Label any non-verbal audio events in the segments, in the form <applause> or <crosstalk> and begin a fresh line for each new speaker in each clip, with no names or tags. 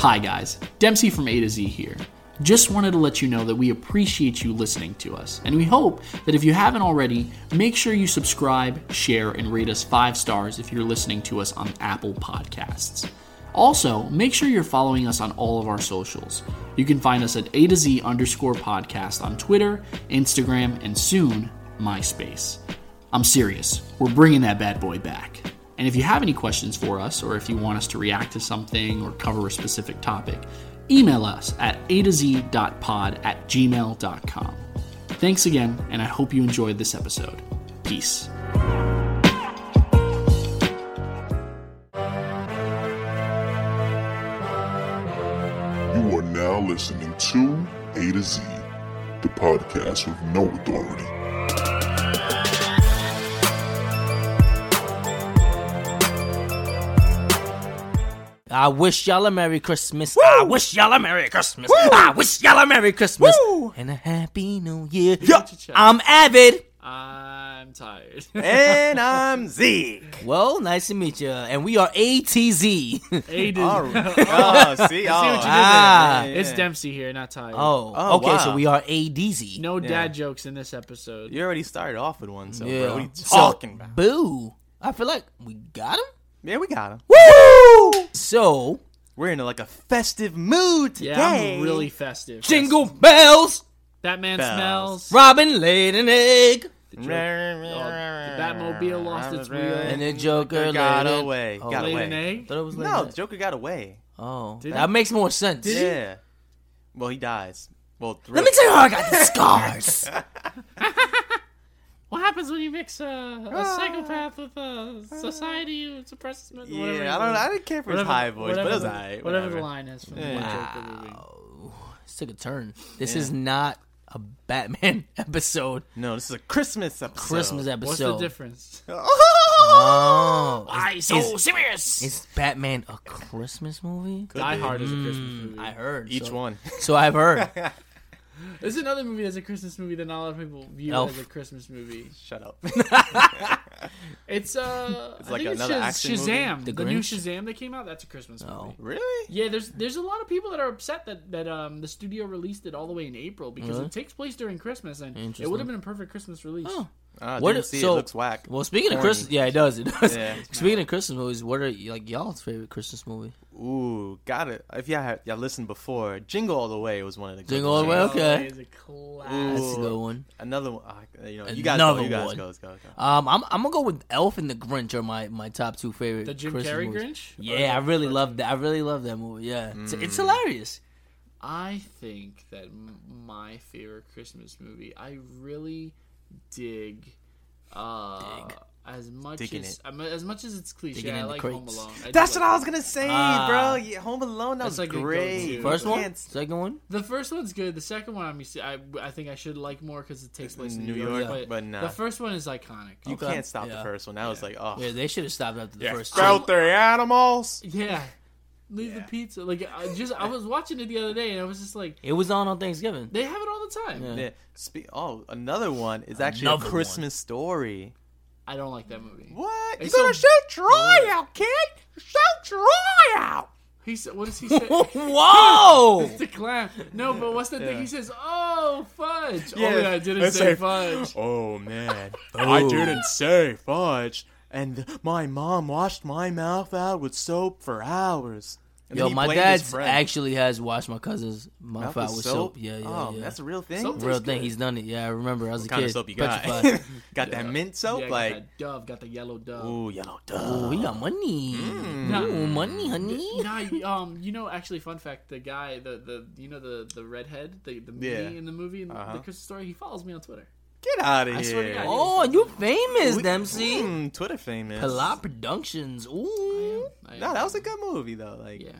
Hi, guys. Dempsey from A to Z here. Just wanted to let you know that we appreciate you listening to us, and we hope that if you haven't already, make sure you subscribe, share, and rate us five stars if you're listening to us on Apple Podcasts. Also, make sure you're following us on all of our socials. You can find us at A to Z underscore podcast on Twitter, Instagram, and soon, MySpace. I'm serious, we're bringing that bad boy back. And if you have any questions for us, or if you want us to react to something or cover a specific topic, email us at a to z.pod at gmail.com. Thanks again, and I hope you enjoyed this episode. Peace.
You are now listening to A to Z, the podcast with no authority.
I wish y'all a Merry Christmas. I wish y'all a Merry Christmas. I wish y'all a Merry Christmas. And a Happy New Year. I'm Avid.
I'm
<laughs>
tired.
And I'm Zeke.
Well, nice to meet you. And we are <laughs> ATZ.
a to
All right. <laughs> Oh, see,
what you did there.
oh,
Ah.
yeah,
It's
yeah.
Dempsey here, not tired.
oh,
Oh,
okay. So
wow.
we are ADZ.
No
Yeah.
dad jokes in this episode.
You already started off with one, so
Yeah.
bro, what are you
So,
talking about?
Boo. I feel like we got him.
yeah, we got him.
Woo! So,
We're in like a festive mood today.
Yeah, I'm really festive.
jingle bells.
That man
Bells.
smells.
Robin laid an egg.
Batmobile lost its wheel.
And the Joker
Mm, <laughs> got
laid an-
away.
Oh,
got
Laid
away.
an egg?
Thought it was laid
No,
an
the
egg.
Joker got away.
Oh,
Did
that
he?
makes more sense.
yeah. Well, he dies. Well,
Let me tell you how I
<laughs>
got the scars.
What happens when you mix uh, a
Ah.
psychopath with a society who suppresses men?
Yeah,
whatever it
I don't.
was.
I didn't care for his
Whatever-
high voice, but it
whatever
was
the-
alright.
Whatever, the line is from the
Yeah.
Joker movie.
This took a turn. This is not a Batman <laughs> episode.
No, this is a Christmas episode. <laughs>
Christmas episode.
What's the difference?
Oh,
I
is,
so
is-
serious.
is Batman a Christmas movie?
Die Hard is a Christmas movie.
mm. I heard
Each
so,
one. <laughs>
So I've heard.
There's another movie that's a Christmas movie that not a lot of people view
Elf.
as a Christmas movie.
Shut
<laughs>
up.
It's uh, I
like
think it's
another
Shaz-
action movie?
Shazam,
The
the new
Grinch?
Shazam that came out. That's a Christmas movie.
Oh.
really?
Yeah, there's there's a lot of people that are upset that that um the studio released it all the way in April because
Really?
it takes place during Christmas and it
Interesting.
would have been a perfect Christmas release.
Oh.
Uh,
What
didn't
if-
see
so-
it looks whack.
Well, speaking of
Corny.
Christmas, yeah, it does. It does.
Yeah.
<laughs> Speaking of Christmas movies, what are like y'all's favorite Christmas movie?
Ooh, got it. If y'all, had, y'all listened before, Jingle All the Way was one of the good
Jingle All the Way,
ones.
okay.
It's Oh, a class.
That's a
Ooh.
good one.
Another one. Uh, you know, you guys go.
Another
You guys
one.
go. Let's go. let's go.
Um, I'm I'm gonna go with Elf and the Grinch are my, my top two favorite.
The Jim
Christmas
Carrey
movies.
Grinch?
Yeah, I really love that. I really love that movie. Yeah, it's, it's hilarious.
I think that m- my favorite Christmas movie, I really dig, uh, as much
Digging
as um, as much as it's cliche.
Digging
I
in the
like Home
crates.
Alone. do
That's
like
what I
Home
was gonna say,
Ah.
bro. Yeah, Home Alone. That
That's
was
like a
great.
go-to.
First
You
one,
can't-
second one.
The first one's good. The second one, I'm, I, I think I should like more because it takes place in New, York. but,
nah.
the first one is iconic.
You
Okay.
can't stop
Yeah.
the first one. That was like, oh,
Yeah, they should have stopped after the first. two.
filthy animals.
<laughs> Yeah, leave the pizza. Like I just, I was watching it the other day, and I was just like,
It was on on Thanksgiving.
they have it all the time.
Yeah.
Yeah. Spe- oh, another one is actually
Another
a
one.
Christmas story.
I don't like that movie.
What?
It's
you gonna
so-
show Troy out, kid? Show Troy out.
He said, what does he
<laughs>
say?
Whoa!
<laughs> the clown. No, but what's the thing?
Yeah.
He says, "Oh, fudge."
Yeah,
Oh, yeah, I didn't
it's
say
like- <laughs>
fudge.
<gasps> Oh man, Oh. I didn't say fudge. And my mom washed my mouth out with soap for hours. And
Yo,
then he
my
blamed his
dad
friend.
actually has washed my cousin's mouth
Mouth
out with soap. Yeah, yeah,
oh,
yeah.
that's a real thing.
Soap
real
tastes
thing.
good.
He's done it. Yeah, I remember. I was a
What kind
kid.
of soap you got? <laughs>
petrified.
got that mint soap?
Yeah, I got
like,
that dove, got the yellow dove.
ooh, yellow
oh,
dove.
he got money.
Mm.
Nah.
Ooh, money, honey.
Nah, you- um, you know, actually, fun fact: the guy, the the you know the the redhead, the the
Yeah. Uh-huh.
mini in the movie, in the Christmas story, he follows me on Twitter.
Get out of here.
I swear to God,
Oh, you famous,
We-
Dempsey.
Mm, Twitter famous.
Palat Productions. Ooh.
I-
No, that was a good movie though. Like,
yeah.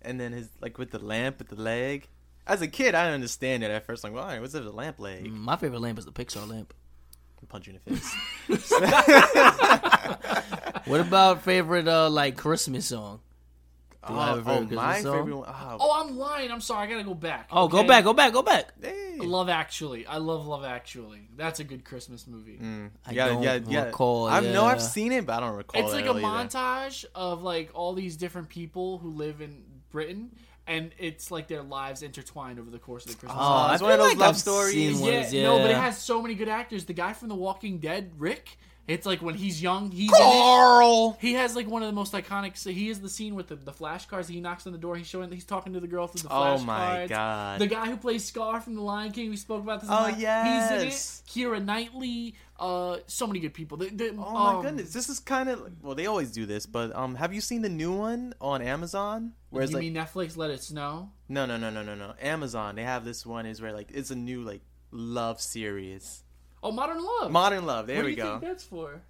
and then his like with the lamp with the leg. As a kid, I didn't understand it at first. Like, why? What's it a lamp leg?
My favorite lamp is the Pixar lamp.
Punch you in the face.
What about favorite uh like Christmas song?
oh,
I have a
oh,
favorite Christmas
my
song?
favorite one. Oh,
Oh, I'm lying. I'm sorry. I gotta go back.
Oh, go
okay?
back, go back, go back.
hey.
Love Actually. I love Love Actually. That's a good Christmas
Mm.
movie.
I
Yeah,
don't
yeah, yeah.
recall.
I know I've
yeah.
seen it, but I don't recall.
It's
it
like a
really either.
montage of like all these different people who live in Britain, and it's like their lives intertwined over the course of the Christmas.
Oh,
Uh,
I
it's
feel
one of those
like
love
I've
stories.
seen
yeah,
ones, yeah.
no, but it has so many good actors. The guy from The Walking Dead, Rick. It's like when he's young, he's in it.
Carl.
He has like one of the most iconic. So he is the scene with the, the flashcards. He knocks on the door. He's showing. He's talking to the girl through the
Oh
flashcards.
my God.
The guy who plays Scar from The Lion King. We spoke about this.
Oh,
last- He's
yes.
in it. Kira Knightley. Uh, so many good people. The, the, um,
Oh my
um,
goodness, this is kind of well. They always do this, but um, have you seen the new one on Amazon? Where it's
you
like
mean Netflix? Let it snow.
no, no, no, no, no, no. Amazon. They have this one is where like it's a new like love series.
Oh, Modern Love.
Modern Love. There
what do
we
you
go.
think that's for?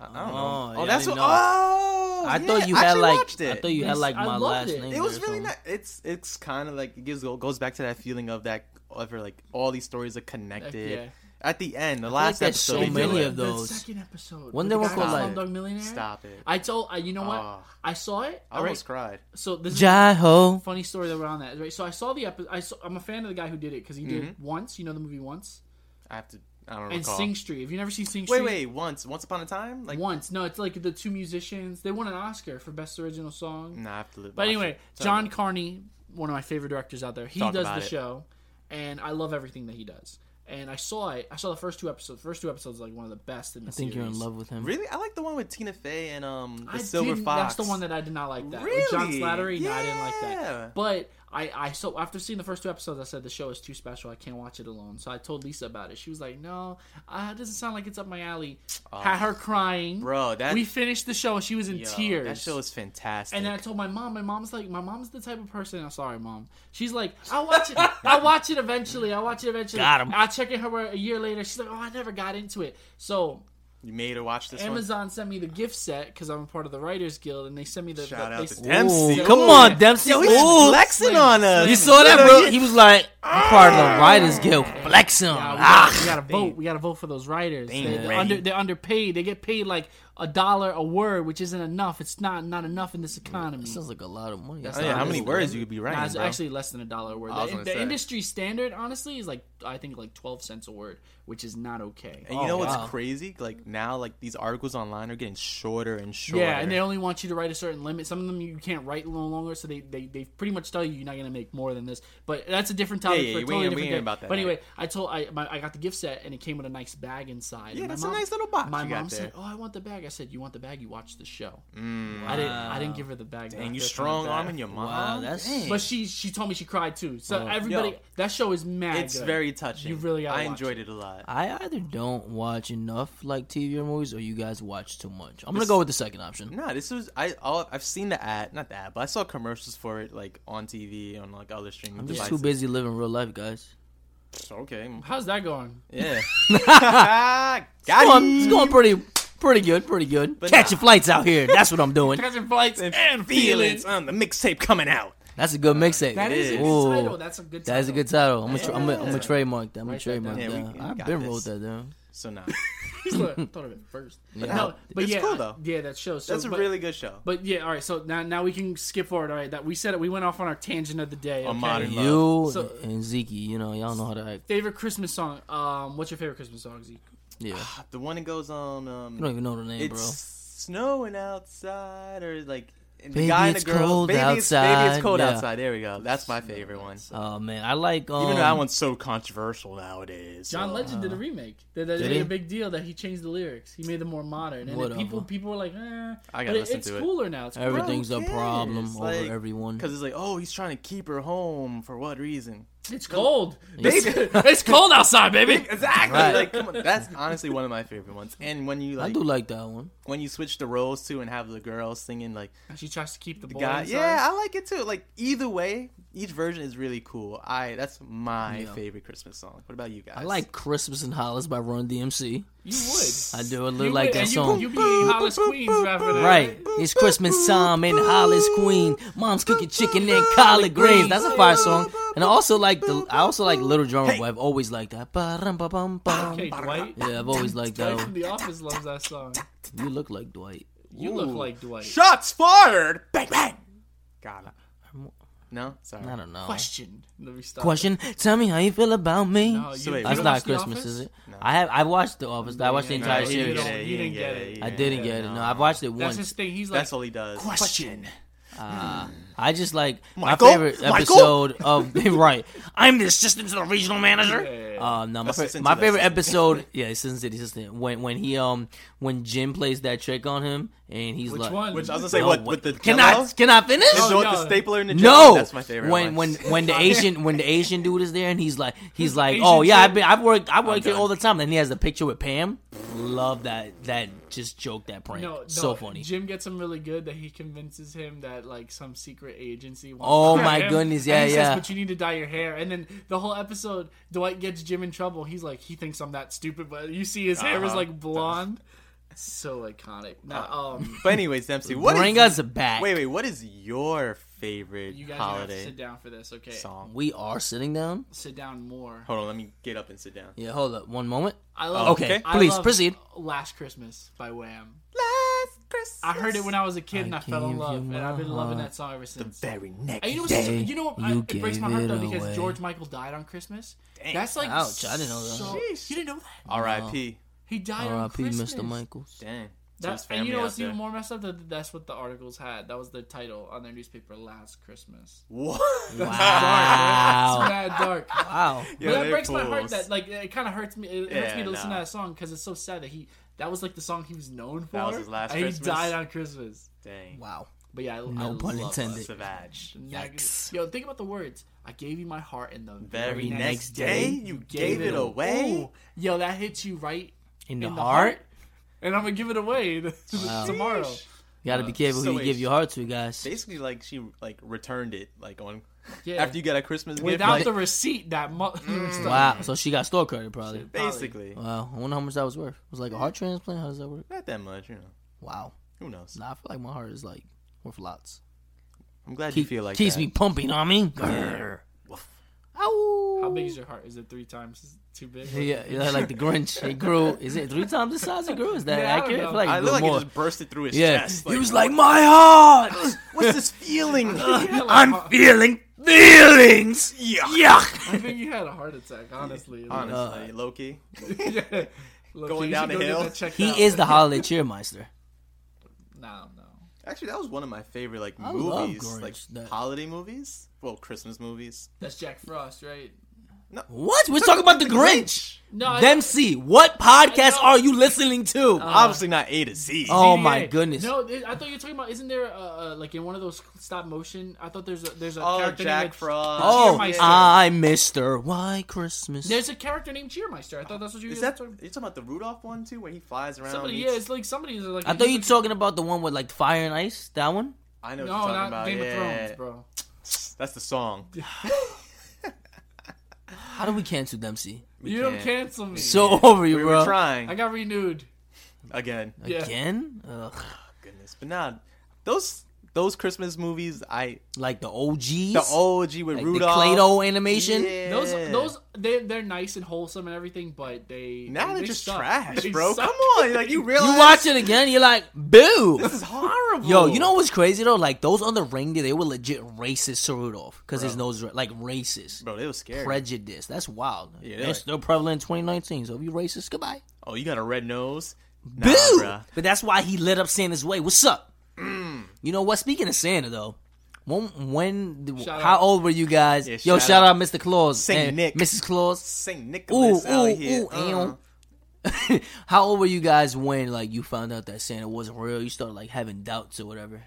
I I don't
Oh,
know.
yeah,
Oh,
I
that's what.
didn't know.
Oh,
I
yeah,
thought you
I
had
actually
like
watched it.
I thought you had
Yes,
like
I
my
loved
last
it.
name.
it was
or
really
something.
nice. It's it's kind of like it gives goes back to that feeling of that ever like all these stories are connected.
yeah.
At the end, the last
there's
episode,
so
they do
many
it.
of those.
The second episode. with
One they
the
were
guy
called,
from
like-
Slumdog Millionaire.
<laughs> Stop it.
I told. I, you know what?
Oh.
I saw it.
I
all right?
almost cried.
So this is
Jai-ho.
funny story that we're on that right. So I saw the episode. I saw, I'm a fan of the guy who did it because he did it once. You know the movie once
I have to. Mm-hmm. I don't
and
recall.
Sing Street. Have you never seen Sing Street?
wait, wait. Once, once upon a time, like
Once. No, it's like the two musicians. They won an Oscar for best original song.
Nah, I have to.
But anyway, John Carney, one of my favorite directors out there, he
Talk
does
about
the
it.
show, and I love everything that he does. And I saw it. I saw the first two episodes. The first two episodes are like one of the best in the
I think you're in
series.
love with him.
Really, I like the one with Tina Fey and um the
I
Silver
didn't-
Fox.
That's the one that I did not like. That With John
Really?
Slattery. No, I didn't like
Yeah.
that. But I, I so after seeing the first two episodes, I said the show is too special. I can't watch it alone. So I told Lisa about it. She was like, "No, uh, it doesn't sound like it's up my alley." Had her crying,
Oh. Bro, that-
we finished the show and she was in
Yo,
tears.
That show is fantastic.
And then I told my mom. My mom's like, my mom's the type of person. I'm sorry, mom. She's like, I'll watch it. I'll watch it eventually. I'll watch it eventually.
Got 'em.
I'll check in her a year later. She's like, oh, I never got into it. So
you made her watch this one.
Amazon sent me the gift set because I'm a part of the Writers Guild, and they sent me the.
Shout
the,
out
they
to
sent-
Dempsey.
Ooh, come on, Dempsey.
Yo, he's
Ooh.
flexing on us.
You saw that, bro? He was like, I'm part of
Ah.
the Writers Guild. Flex him.
Yeah, we,
Ah.
gotta, we gotta vote. We gotta vote for those writers. They,
Damn.
are under, they're underpaid. They get paid like a dollar a word, which isn't enough. It's not not enough in this economy.
Sounds like a lot of money.
Oh, yeah, how many words you could be
Nah,
writing,
it's
bro?
actually less than a dollar a word.
I was
The,
gonna
the
say.
industry standard, honestly, is like I think like twelve cents a word, which is not okay.
And you know what's
wow.
crazy? Like now, like these articles online are getting shorter and shorter.
Yeah, and they only want you to write a certain limit. Some of them you can't write no longer, so they, they, they pretty much tell you you're not gonna make more than this. But that's a different topic
Yeah, yeah,
for a
we
totally
ain't- we
different
ain't
day.
about that,
But
yeah.
anyway, I told I my, I got the gift set and it came with a nice bag inside.
Yeah,
And my
that's a nice little box
My
you got
mom said,
there.
"Oh, I want the bag." I said, "You want the bag? You watch the show." I didn't I didn't give her the bag.
and you
That's
strong
different.
arming your mom.
Wow, that's-
Dang.
But she she told me she cried too. So everybody,
Yo.
that show is mad.
it's
good.
very touching.
You really gotta
I
watch
enjoyed
it.
it. a lot.
I either don't watch enough like TV or movies, or you guys watch too much. I'm gonna go with the second option.
Nah, this was I. All, I've seen the ad, not the ad, but I saw commercials for it like on TV on like other streaming
I'm just
devices.
too busy living real life, guys.
Okay,
How's that going? <laughs>
yeah. <laughs>
It's
Got
going, it's going pretty, pretty good, pretty good. Catching flights out here. That's what I'm
<laughs>
doing.
Catching flights and,
feelings on the mixtape coming out.
That's a good mixtape.
That is a good
Ooh.
title. That's a good.
That is a
title.
good title. I'm gonna tra- I'm gonna- I'm gonna trademark that. I'm gonna
Write that
trademark
down.
that.
Yeah, we- we
I've
got
been
this.
wrote that down.
So nah,
I thought of it first. But no, but
It's
yeah,
cool, though.
Yeah, that shows. <laughs> So,
that's a
but,
really good show.
But yeah, all right. So now, now we can skip forward. All right, that we said it. We went off on our tangent of the day.
On
okay?
modern love.
You
So-
and Zeke, you know, y'all know how to act.
favorite Christmas song. Um, what's your favorite Christmas song, Zeke?
Yeah,
Ah, The one that goes on, um,
I don't even know the name,
it's snowing outside, or like and
Baby,
the guy and
it's
the girl.
cold
baby, it's, baby,
outside.
it's cold
Yeah.
outside. There we go. That's my favorite one.
Oh man, I like um,
Even though that one's so controversial nowadays.
John
so- <laughs>
Legend did a remake. That, that
Did
made
he?
a big deal that he changed the lyrics. He made them more modern, and it,
Whatever.
people people were like, eh.
I gotta
but it-
listen
it's
to it.
cooler now. It's cooler.
Everything's a problem
Bro,
over everyone.
Because it's like, oh, he's trying to keep her home for what reason? <laughs>
It's cold. It's, <laughs> it's cold outside, baby.
Exactly.
Right.
Like, come on. That's honestly one of my favorite ones. And when you
I
like,
do like that one.
when you switch the roles too, and have the girl singing like
She tries to keep the,
the
boy
guy.
inside.
Yeah, I like it too. Like either way, each version is really cool. I that's my favorite Christmas song. What about you guys?
I like Christmas and Hollis by Run DMC.
you would.
I do a
You
little like
would,
that
and you-
song.
You be Hollis Queens after that.
Right, it's Christmas time in Hollis, Queen. Mom's cooking chicken and collard greens. That's a fire song, and I also like the. I also like Little Drummer Boy. I've always liked that. Ba-dum-ba-bum-bum.
Okay, Dwight.
Yeah, I've always liked that.
Dwight from
One.
The Office loves that song.
You look like Dwight.
You look like Dwight.
shots fired. Bang bang. Got it. No, sorry.
I don't know.
Question. Let me stop.
Question. Tell me how you feel about me.
No, you-
So wait,
you
that's
That's
don't watch
not
The
Christmas,
Office?
is it? I have. I watched The Office. I watched the
No,
entire
you
series.
didn't.
don't- You didn't get it.
Yeah.
I didn't get it. No, I've watched it
That's
once.
his thing. He's like,
That's all he does.
question.
I just like
Michael?
my favorite
Michael?
episode of <laughs> right. I'm the assistant to the regional manager. Uh, no, my,
That's
fa-
Sin
my
City,
favorite
that's <laughs>
episode. Yeah, Assistant City Assistant. When when he um when Jim plays that trick on him and he's
Which
like,
one?
Which I was gonna say,
"No,
what
what-
with the
can
Jell-O?
I can I finish?
The
Oh,
Jell-
yeah.
the stapler in the Jell-O?
No,
that's my favorite.
When
one.
when when the Asian when the Asian dude is there and he's like he's like
Asian
oh yeah
chick.
I've been I've worked I worked here
done.
all the time and he has a picture with Pam. Love that that just joke that prank
No, no,
so funny.
Jim gets him really good that he convinces him that like some secret agency. Wants
Oh,
to hire
my
him.
goodness,
And
yeah,
he Says,
yeah.
but you need to dye your hair, and then the whole episode, Dwight gets Jim in trouble. He's like, he thinks I'm that stupid, but you see his hair
Uh-huh.
is like blonde. so iconic.
Uh,
Now, um,
<laughs> But anyways, Dempsey, what
Bring
is-
us back.
Wait, wait. What is your favorite
you guys are gonna have to
holiday
sit down for this, okay?
song?
We are sitting down.
Sit down more.
Hold on, let me get up and sit down.
Yeah, hold up one moment.
I love.
Oh, Okay,
I
please
love
proceed.
Last Christmas by Wham.
Last Christmas.
I heard it when I was a kid, and I fell
gave
in
you
love, and
my
I've been loving
heart.
that song ever since.
very next
And you know what's
day.
you know what, I,
you
it breaks my
gave
heart though
it
because
away.
George Michael died on Christmas. That's like
Ouch, I didn't know that.
so- you didn't know that
R.I.P.
he died on
R.I.P.
Christmas.
Mr.
<laughs>
Michaels.
Dang.
That, and you know what's even more messed up? That that's what the articles had. That was the title on their newspaper last Christmas.
What?
<laughs>
<laughs>
Wow,
Wow.
mad dark.
Wow.
Yeah,
but that
they're
breaks my heart
fools.
that like it kind of hurts me. It hurts
Yeah,
me to listen
nah.
to that song because it's so sad that he that was like the song he was known for.
That was his last
and
Christmas.
He died on Christmas.
Dang. <laughs>
Wow.
But yeah, I, I
No pun
love
intended.
Last-
Savage.
Yikes.
Yo, think about the words. I gave you my heart in the
Very
very
next day, you gave it away.
Ooh, yo, that hits you right
In the,
in the
heart.
heart. And I'm gonna give it away <laughs> th- tomorrow.
You gotta be careful
Uh, so
who you
wait.
give your heart to, guys.
Basically, like she like returned it like on
Yeah.
after you got a Christmas
Without
gift.
the
Like,
receipt, that <laughs> month.
Mm.
Wow. So she got store credit probably.
basically,
Wow. I wonder how much that was worth. It was like a heart transplant. How does that work?
not that much. You know,
Wow.
who knows?
Nah, I feel like my heart is like worth lots.
I'm glad you
Keep,
feel like
keeps
that.
me pumping. know what I mean. Grrr. Ow.
How big is your heart? Is it three times too big?
<laughs> Yeah, yeah, like the Grinch. It grew. Is it three times the size it grew? Is that
Yeah, I don't
accurate? I feel
know.
like it
I
grew
look like
more.
it just bursted through his
yeah,
chest.
he was like, my
<laughs>
heart.
<laughs> "What's this
<laughs>
feeling?" <laughs>
Yeah, like,
I'm feeling feelings.
I
Yuck.
think you had a heart attack, honestly. Like,
Uh,
Honestly, Loki.
yeah. <laughs> Look,
Going
you
down
should go
the
get
hill.
that checked out.
He is the holiday cheermeister.
No, no.
Actually, that was one of my favorite like
I love
movies,
Grinch,
like
that-
holiday movies. Well, Christmas movies.
That's Jack Frost, right?
What? We're talking about the Grinch.
No, I-
Dempsey, what podcast are you listening to?
Uh,
Obviously not A to Z.
oh
DDA.
my goodness.
No, th- I thought you were talking about. Isn't there uh, uh, like in one of those stop motion? I thought there's a there's a
oh,
character
Jack
named,
Frost.
oh,
Cheermeister.
I'm Mr. Why Christmas.
There's a character named Cheermeister. I thought that's what you
Is
guys
that
were
you
talking.
talking about the Rudolph one too, where he flies around?
Somebody,
meets-
yeah, it's like somebody who's like.
I thought you were
he's
talking about the one with like fire and ice. That one?
I know
like- No,
what you're talking
not
about.
Game
yeah.
of Thrones, bro.
That's the song.
How do we cancel Dempsey?
you
can't.
don't cancel me.
So <laughs> over you,
We
bro.
were trying
I got renewed.
again.
Yeah.
Again? Ugh.
Goodness, but nah, those those Christmas movies, I
Like the OGs?
the OG with
like
Rudolph,
the Clay-Doh animation?
Yeah.
Those those they they're nice and wholesome and everything, but they
Now
they,
they're
they
just
suck.
trash,
They
bro.
suck. <laughs>
Come on, like you
<laughs>
realize
You watch it again, you're like, boo.
This is horrible.
Yo, you know what's crazy though? Like those on the ring, they were legit racist to Rudolph because his nose is like racist,
bro? They was scary.
prejudice. That's wild.
Yeah,
That's
like-
still prevalent in 2019. So if you racist, goodbye.
oh, you got a red nose. Nah,
Boo!
bruh.
But that's why he lit up Santa's way. What's up? You know what? Speaking of Santa though, when, when
Shout
how
out.
old were you guys?
Yeah,
Yo,
shout
shout out, Mr. Claus,
Saint
and
Nick.
Mrs. Claus. <laughs>
Saint
Ooh,
Nicholas out
ooh,
here.
ooh,
uh.
ew. How old were you guys when like you found out that Santa wasn't real? You started like having doubts or whatever.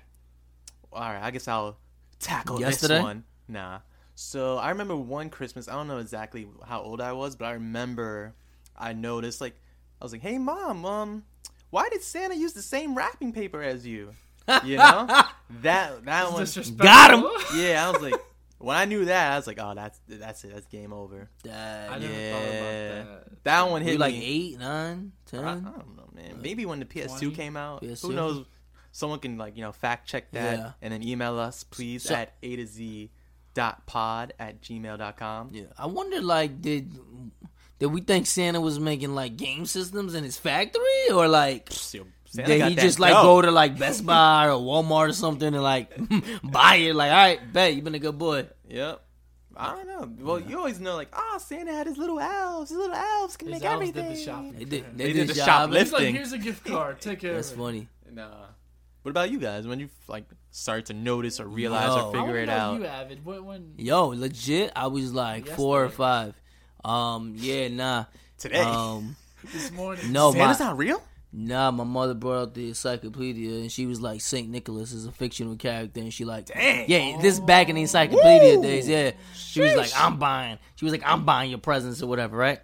All right, I guess I'll tackle
Yesterday?
this one. Nah. So I remember one Christmas. I don't know exactly how old I was, but I remember I noticed like I was like, "Hey, mom, um, why did Santa use the same wrapping paper as you?"
<laughs>
You know that that one.
Got him.
Yeah, I was like, when I knew that, I was like, "Oh, that's that's it. That's game over."
Uh,
I never
Yeah,
thought about that.
that one hit
you like
me. Uh-huh.
eight, nine, ten.
I, I don't know, man. Maybe when the PS2
20?
came out,
PS2?
who knows? Someone can like you know fact check that
Yeah.
and then email us please
So-
at a to z dot pod at gmail dot com.
Yeah, I wonder like did did we think Santa was making like game systems in his factory or like did he just like go to like Best Buy or Walmart or something and like <laughs> buy it? Like, all right, bet you've been a good boy.
Yep. I don't know. Well, you always know, like, ah, Santa had his little elves. His little elves can make
elves did the
everything.
shopping.
They did,
They
they did,
did the
job.
shoplift.
It's like
Lifting.
here's a gift card. Take care.
That's
of it.
funny.
Nah. What about you guys? When you like start to notice or realize
No. I
or
I
figure
wanna
it
know
out?
You Avid. When, when
Yo, legit, I was like four or
Yesterday.
five. Um, yeah, nah.
Today.
Um,
this morning?
no,
Santa's
Oh, my,
not real.
Nah, my mother brought out the encyclopedia and she was like, Saint Nicholas is a fictional character, and she like, yeah, this is back in the encyclopedia days, yeah. She was like, I'm buying. She was like, I'm buying your presents or whatever, right?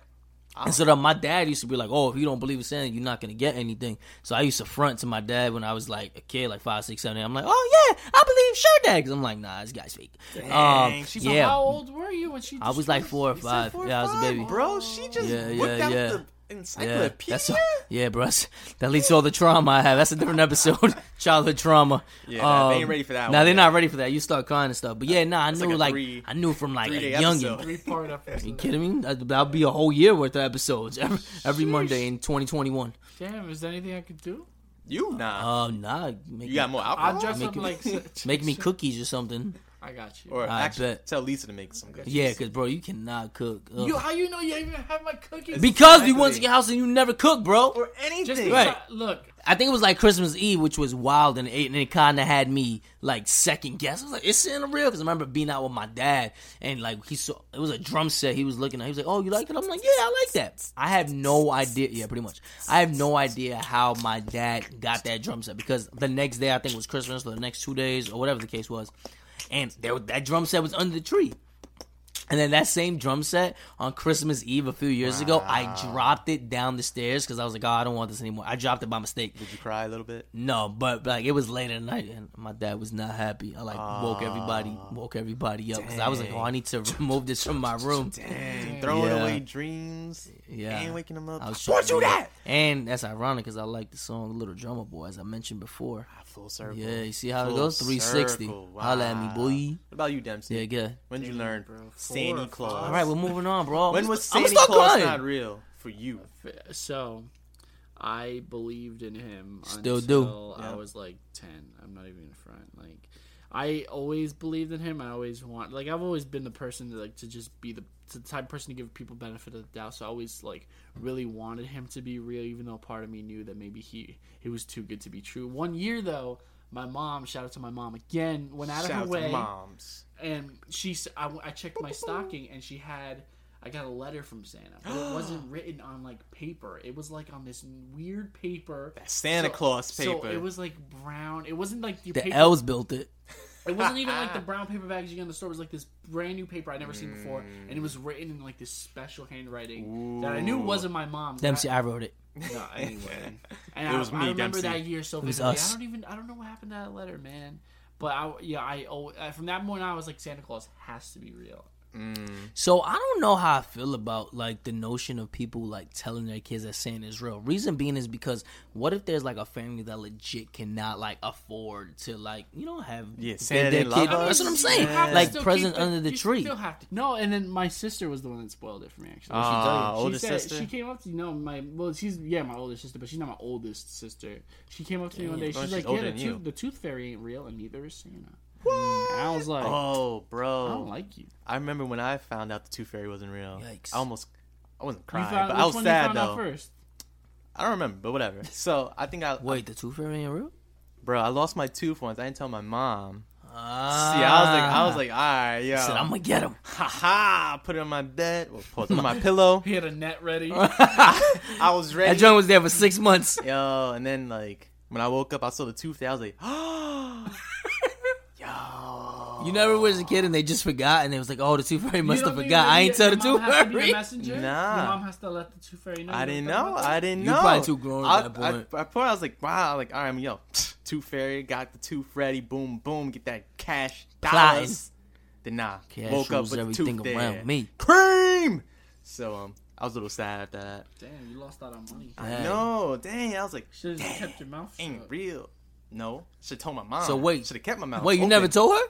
And so then my dad used to be like, "Oh, if you don't believe in Santa, you're not gonna get anything." So I used to front to my dad when I was like a kid, like five, six, seven. Eight. I'm like, "Oh yeah, I believe sure, dad." 'Cause I'm like, "Nah, this guy's fake." um,
she's
So
yeah,
How old were you when she?
I was like four or five.
Four or
yeah, I was a
five,
baby.
bro. She just
Yeah, yeah,
whipped out
yeah.
the
Yeah,
encyclopedia.
that's all, yeah, bro. that's- That leads to all the trauma I have. That's a different
<laughs>
episode. Childhood trauma.
Yeah, nah, they ain't ready for that
Now
one
they're
yet.
not ready for that. You start crying and stuff. But yeah, nah, I knew
like a
like,
three-
I knew from like
three-day
a youngin.
episode.
three part episode.
You kidding me? That- That'll be a whole year worth of episodes <laughs> every, every Monday in 2021.
Damn, is there anything I could do?
You nah.
Oh nah, make
you got
me,
more
I
alcohol.
dress
make
up
it-
like
<laughs> make me cookies or something.
I got you.
Or
I
actually,
bet.
tell Lisa to make some good.
Yeah, cause bro, you cannot cook. Ugh.
you how you know you even have my cookies?
because you went to your house and you never cook, bro.
Or anything.
Just
Right.
because- Look,
I think it was like Christmas Eve, which was wild, and it, and it kind of had me like second guess. I was like, "Is Santa real?" Because I remember being out with my dad, and like he saw it was a drum set. He was looking at. He was like, "Oh, you like it?" I'm like, "Yeah, I like that." I have no idea. Yeah, pretty much. I have no idea how my dad got that drum set because the next day I think was Christmas, or the next two days, or whatever the case was, and there, that drum set was under the tree. And then that same drum set on Christmas Eve a few years ago, I dropped it down the stairs because I was like, oh, I don't want this anymore. I dropped it by mistake.
Did you cry a little bit?
No, but like it was late at night, and my dad was not happy. I like woke everybody,
Ah.
woke everybody up because I was like, "Oh, I need to remove this from
<laughs>
my room."
Mm.
Dang, throwing
Yeah.
away dreams
Yeah.
and waking them up.
I
I
was
want you
trying to-
that.
And that's ironic because I like the song "Little Drummer Boy" as I mentioned before.
Full circle.
Yeah, you see how it
Full
goes? Three sixty.
circle.
Holla at me,
Wow.
boy.
What about you, Dempsey?
Yeah, good.
When did you learn Santa Claus?
All right, we're moving on, bro.
When was
I'm
Santa
still
Claus
crying.
not real for you?
so I believed in him.
Still do.
until I was like ten. I'm not even in front. Like I always believed in him. I always want. Like I've always been the person to like to just be the to the type of person to give people benefit of the doubt. So I always like really wanted him to be real, even though part of me knew that maybe he it was too good to be true. One year though. My mom, shout out to my mom again, went out
Shout
of her
out
way
to moms.
and she s- I, w- I checked my stocking and she had i got a letter from santa but it
<gasps>
wasn't written on like paper it was like on this weird paper
Santa
So-
Claus
so
paper. <laughs>
it was like brown it wasn't like the,
The
paper
elves built it.
it wasn't even like
<laughs>
the brown paper bags you get in the store. It was like this brand new paper I'd never seen before, and it was
Mm.
written in like this special handwriting that I knew wasn't my mom's.
Dempsey, I wrote it.
I- no, anyway. And
It
I,
was
I
me,
remember
Dempsey.
that year so
was
vividly. I
us.
don't even I don't know what happened to that letter, man. But I yeah I oh, uh, from that moment on, I was like Santa Claus has to be real.
So I don't know how I feel about like the notion of people like telling their kids that Santa is real. Reason being is because what if there's like a family that legit cannot like afford to like you know have
Yeah,
their-
Santa
their
didn't love
kid-
us.
That's what I'm
You
saying.
have to
Like
still keep
present
the-
under the
you
tree.
still have to- No, and then my sister was the one that spoiled it for me. Actually,
Ah,
She told you.
oldest
she said,
sister?
She came up to you know my well, she's yeah my older sister, but she's not my oldest sister. She came up to me one day. She's
Oh, she's
like,
older
yeah,
than
the
you.
tooth, the tooth fairy ain't real, and neither is Santa. And I was like,
Oh, bro.
I don't like you.
I remember when I found out the Tooth Fairy wasn't real.
Yikes.
I almost, I wasn't
You
crying,
found,
but
which
I was
one
sad
you found out
though.
first?
I don't remember, but whatever. So I think I
Wait, the tooth fairy ain't real?
Bro, I lost my tooth once. I didn't tell my mom. See, I was like, I was like, all right, yo.
Ah. Said, I'm gonna get him.
ha ha. Put it on my bed. Well, put it on my pillow.
He had a net <laughs> ready.
I
<laughs>
was
That
ready.
joint was there for six months.
Yo, and then like when I woke up, I saw the tooth there. I was like,
<laughs> You never was a kid and they just forgot and they was like, oh, the tooth fairy must have forgot. I ain't tell
said
the tooth fairy.
Nah. Your mom
has to let the tooth fairy know.
<gasps>
I didn't know. I didn't
You
know.
probably too grown at
I,
that
I-
point.
I, probably- I was like, wow, like all right, I'm yo, <sniffs> tooth fairy got the tooth ready. Boom, boom, get that cash
Plotting.
dollars. Then nah,
Cash
woke up
rules
with the
everything
tooth there.
around me.
Cream. So um, I was a little sad after that.
Damn, you lost out on money.
Dang.
No, dang, I was like,
Should have kept your mouth
ain't real. No, should told my mom.
So wait.
should have kept my mouth.
Wait, you
open.
never told her?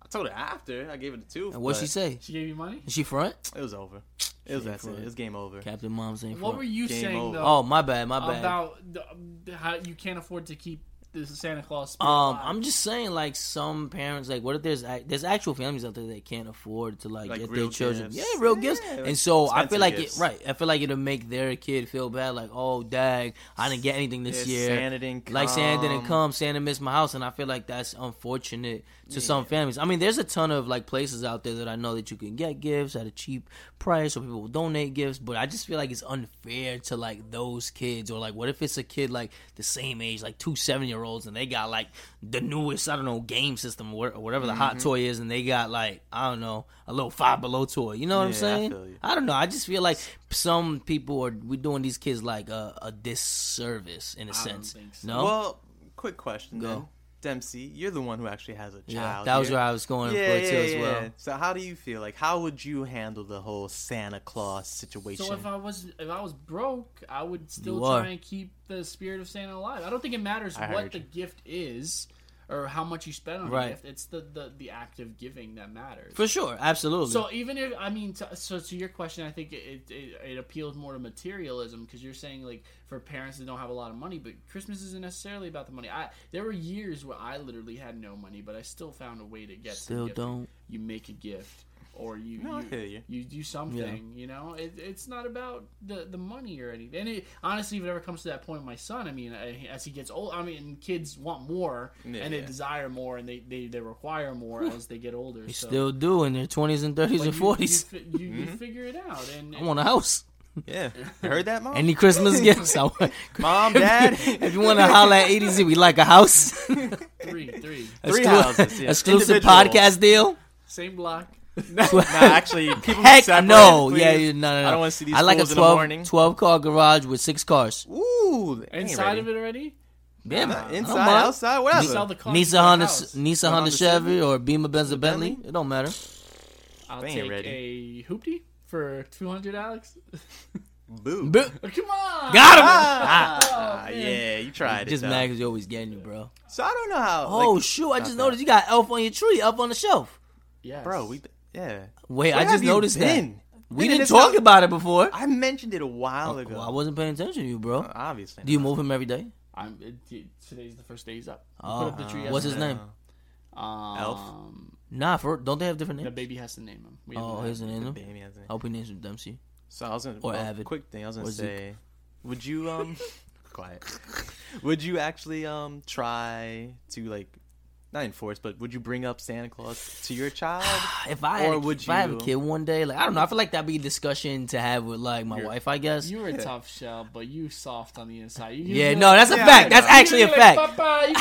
I told her after. I gave her the tooth.
And what
but
she say?
She gave you money.
Is she front?
It was over. It was that's it.
front.
It was game over.
Captain Mom's ain't front.
What were you
Game
saying
over.
though
Oh, my bad, my bad.
about the, um, how you can't afford to keep the Santa Claus? spirit
um,
alive?
I'm just saying, like some parents, like what if there's ac- there's actual families out there that can't afford to like,
Like
get their
real
children,
gifts.
yeah, real
Yeah,
gifts,
like
and so I feel
expensive
like
gifts.
it, right, I feel like it'll make their kid feel bad, like oh, dag, I didn't get anything this
Yeah,
year,
Santa didn't
like Santa didn't
come.
come, Santa missed my house, and I feel like that's unfortunate to some families. I mean, there's a ton of like places out there that I know that you can get gifts at a cheap price, or people will donate gifts, but I just feel like it's unfair to like those kids, or like what if it's a kid like the same age, like two seven year olds, and they got like the newest, I don't know, game system or wha- or whatever the
Mm-hmm.
hot toy is, and they got like I don't know, a little five below toy. You know what I'm
Yeah, I
saying?
feel you.
I don't know. I just feel like some people are we doing these kids like a, a disservice in a sense.
think so.
No,
Well, quick question.
Go.
Then. Dempsey, you're the one who actually has a child.
yeah, that was
here.
where I was going
Yeah,
for
yeah,
too as
yeah.
well.
So how do you feel? Like, how would you handle the whole Santa Claus situation?
So if I was if I was broke, I would still
You
try
are.
and keep the spirit of Santa alive. I don't think it matters
I
what
heard
the
you.
gift is or how much you spend on
Right.
a gift. It's the, the the act of giving that matters.
For sure, absolutely.
so even if I mean, to, so to your question, I think it it, it appeals more to materialism because you're saying like for parents that don't have a lot of money, but Christmas isn't necessarily about the money. I there were years where I literally had no money, but I still found a way to get. to
Still
gifting.
don't.
You make a gift, or you
No, I
you,
hear you.
you do something. You know, it, it's not about the the money or anything. And it, honestly, if it ever comes to that point, my son, I mean, I, as he gets old, I mean, kids want more
Yeah,
and they
yeah.
desire more and they, they, they require more as they get older.
they
so.
still do in their twenties and thirties
But
and
you-
forties.
You, fi- you, you
Mm-hmm.
figure it out, and,
I want a house.
yeah, you heard that, mom.
Any Christmas gifts? I want.
<laughs>
<laughs>
mom, dad,
If you want to holler at ADZ, we like a
<laughs>
house. <laughs>
three, three,
three
Exclu-
houses, yeah.
Exclusive
Individual.
podcast deal.
same block.
Nah,
<laughs>
actually, people
Heck
separate,
no.
please.
Yeah, yeah, no, no, no.
I don't want to see these
I like a
fools in the
12,
morning.
12 car garage with six cars.
Ooh, they ain't
Inside
ready.
of it already.
Yeah,
Nah,
man.
inside,
I don't mind.
outside, whatever.
Sell the car. for
Nissan
a
Honda,
house.
Nissan Honda Chevy or Beamer Benz or Bentley. It don't matter.
I'll
They ain't
take
ready.
a hoopty for two hundred, Alex. <laughs>
Boo.
Boo.
Come on.
<laughs>
Oh,
Got him. Oh,
Ah, yeah, you tried it.
Just
though.
mad 'cause you always getting you, bro.
So I don't know how.
Oh
like,
shoot! I just
not
noticed you got Elf on your tree, Elf on the shelf.
Yes.
bro. We yeah.
Wait, I
Where
just
have you
noticed
been?
that. We
Been in
didn't
this
talk
house-
about it before.
I mentioned it a while ago. Uh,
Well, I wasn't paying attention to you, bro.
Obviously.
Do you
not.
move him every day?
I'm, it, t- today's the first day he's up. We
Oh,
put up the tree
what's his
yesterday.
name?
Um,
Nah, for don't they have different
The
names?
baby has to name him. We
Oh,
haven't-
here's the name.
Damn, he has a name.
I hope he names him Dempsey.
So I was gonna
Oh, Or
well,
Avid.
quick thing. I was gonna
Or Zeke.
say, would
<laughs>
you um, quiet? <laughs> Would you actually um try to like, not enforce, but would you bring up Santa Claus
<sighs>
to your child?
If I had
Or
a,
would
if I have a
you-
kid one day, like I don't know, I feel like that'd be a discussion to have with like my wife, I guess.
You were a tough shell, but you soft on the inside. You, you
Yeah, no, that's a fact. That's
You
actually a
like,
fact.
"Papa, you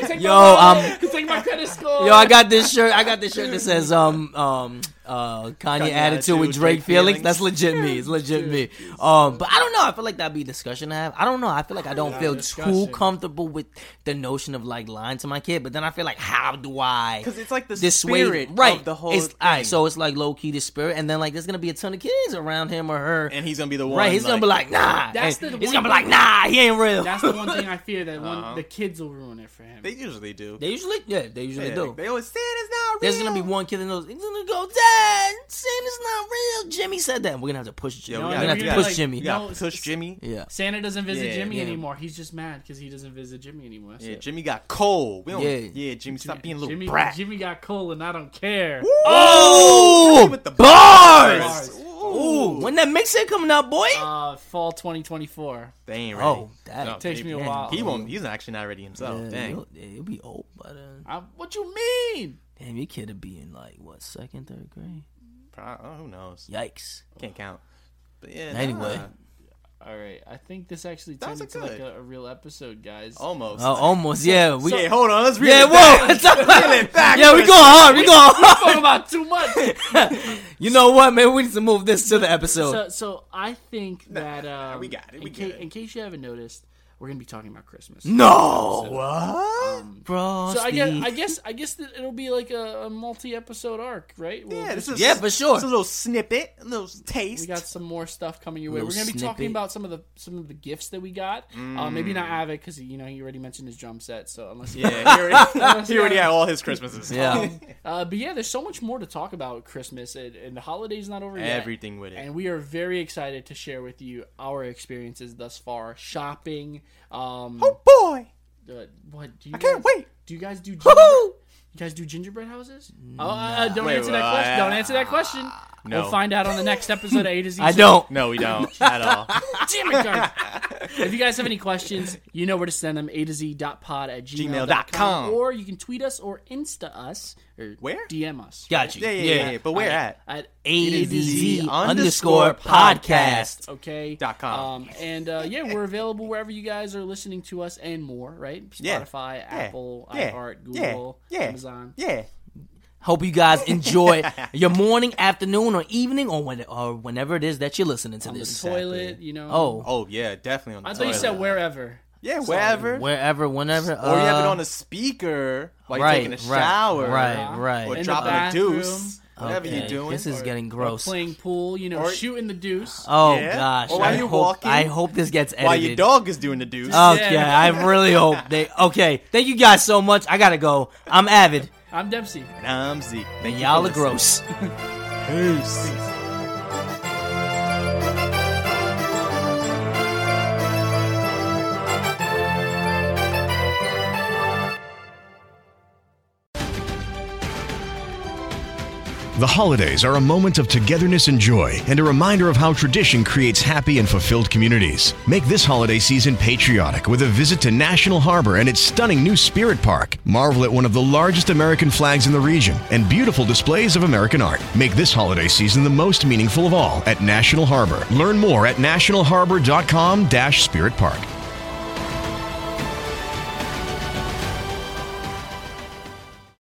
<laughs>
take my- you
Yo, um,
take my- you take my credit score.
Yo, I got this shirt. I got this shirt that says um um uh Kanye, attitude, with Drake, Feelings. That's legit me. It's legit me. Um, but I don't know. I feel like that'd be a discussion to have. I don't know. I feel like I don't feel too
discussion.
comfortable with the notion of like lying to my kid. But then I feel like, how do I?
'Cause it's like the
way-
spirit of
right?
the whole
It's, All
thing.
right, so it's like low key the spirit, and then like there's gonna be a ton of kids around him or her.
and he's gonna be the one.
right, he's gonna be like, nah.
That's
and
the
he's
one
gonna be like,
thing-
nah. He ain't real.
That's
<laughs>
the one thing I fear that one the kids will ruin it for him.
They usually do.
They usually, yeah, they usually
Yeah,
do.
They always Santa's not real.
There's gonna be one kid that knows. He's gonna go, Dad, Santa's not real. Jimmy said that. We're gonna have to push Jimmy.
Yeah, we
We're
gotta-
gonna have
we
to
gotta,
push
like,
Jimmy.
We gotta
No,
push Jimmy.
Yeah.
Santa doesn't visit
Yeah,
Jimmy
yeah.
anymore. He's just mad because he doesn't visit Jimmy anymore. That's
Yeah,
it.
Jimmy got cold. We don't, yeah,
Yeah.
Jimmy, stop being a little
Jimmy,
brat.
Jimmy got cold, and I don't care.
Oh,
With the
bars.
Ooh.
Ooh, When that mixtape coming out, boy?
Uh, fall 2024.
They ain't ready.
oh, that
No,
Takes
they-
me a while.
He won't. He's actually not ready himself.
Yeah,
Dang.
You'll, yeah, you'll be old, but uh,
I, what you mean?
damn, your kid will be in like what second, third grade?
Pro- oh, who knows?
Yikes.
Can't count. But yeah.
Anyway.
nah.
All right, I think this actually
That was
turned into
a
like
good-
a, a real episode, guys.
almost.
Oh, almost. Yeah, we.
Hey, hold on. Let's
<laughs>
read
yeah,
it.
whoa. <laughs>
back. <laughs> Reel it back
yeah, we
for a
going hard. We going
<laughs> Talk
hard. <laughs>
about too much.
<laughs>
You know what, man? We need to move this to the episode.
So, so I think that um,
we got it, we
in,
good.
ca- in case you haven't noticed, we're gonna be talking about Christmas.
No. What?
um,
Bro.
So I guess I guess I guess that it'll be like a, a multi-episode arc, right? We'll-
Yeah, this is,
Yeah, for sure.
It's a little snippet, a little taste.
we got some more stuff coming your way. We're
Little
gonna be talking
snippet.
about some of the some of the gifts that we got. Uh, maybe not Avic because you know he already mentioned his drum set. So unless <laughs> you-
Mm. yeah, he already, <laughs> he already had all his Christmases.
Yeah.
<laughs> Uh, but yeah, there's so much more to talk about Christmas, and, and the holiday's not over yet.
Everything with it.
And we are very excited to share with you our experiences thus far shopping. Um,
Oh boy,
uh, what do you?
I can't
guys-
wait.
Do you guys do? Ginger- you guys do gingerbread houses? Oh, uh, don't
Wait,
answer that
well,
question. Don't
I-
answer that question.
No.
We'll find out on the next episode of A to Z.
<laughs> I don't.
No,
<laughs>
we don't at <laughs> all.
Damn it, guys. if you guys have any questions, you know where to send them. A to Z dot pod at gmail dot
Gmail.com.
com, Or you can tweet us or Insta us. Or
Where?
DM us.
Got you.
Yeah, yeah, yeah. yeah. But where at?
At
A
A
to Z
underscore
underscore podcast.
Okay.
Dot com.
Um, and uh, yeah, we're available wherever you guys are listening to us and more, right?
Yeah.
Spotify,
Yeah.
Apple,
Yeah.
iHeart,
Yeah.
Google,
Yeah.
Amazon.
Yeah,
Hope you guys
<laughs>
enjoy your morning, afternoon, or evening, or, when, or whenever it is that you're listening to
On the
this.
toilet, you know.
Oh,
Oh yeah, definitely on. The
I thought you
toilet.
said wherever.
Yeah, wherever.
wherever, whenever.
or you have it
uh,
on a speaker while
right,
you're taking a
right,
shower,
right, right.
Or
In the
dropping a
bathroom.
deuce, whatever
okay,
you're doing.
This is
Uh-huh. Or-
getting
or
gross.
playing pool, you know,
Or- Uh,
shooting the deuce.
Oh
Yeah.
gosh!
Or while
I
you're
hope,
walking.
I hope this gets edited. Oh.
while your dog is doing the deuce.
Okay,
Yeah.
I really hope they. Okay, thank you guys so much. I gotta go. I'm avid,
I'm Dempsey.
And I'm Zeke. Thank
and
you
y'all
for
are gross.
listening. Peace.
The holidays are a moment of togetherness and joy, and a reminder of how tradition creates happy and fulfilled communities. Make this holiday season patriotic with a visit to National Harbor and its stunning new Spirit Park. Marvel at one of the largest American flags in the region and beautiful displays of American art. Make this holiday season the most meaningful of all at National Harbor. Learn more at nationalharbor.com-spiritpark.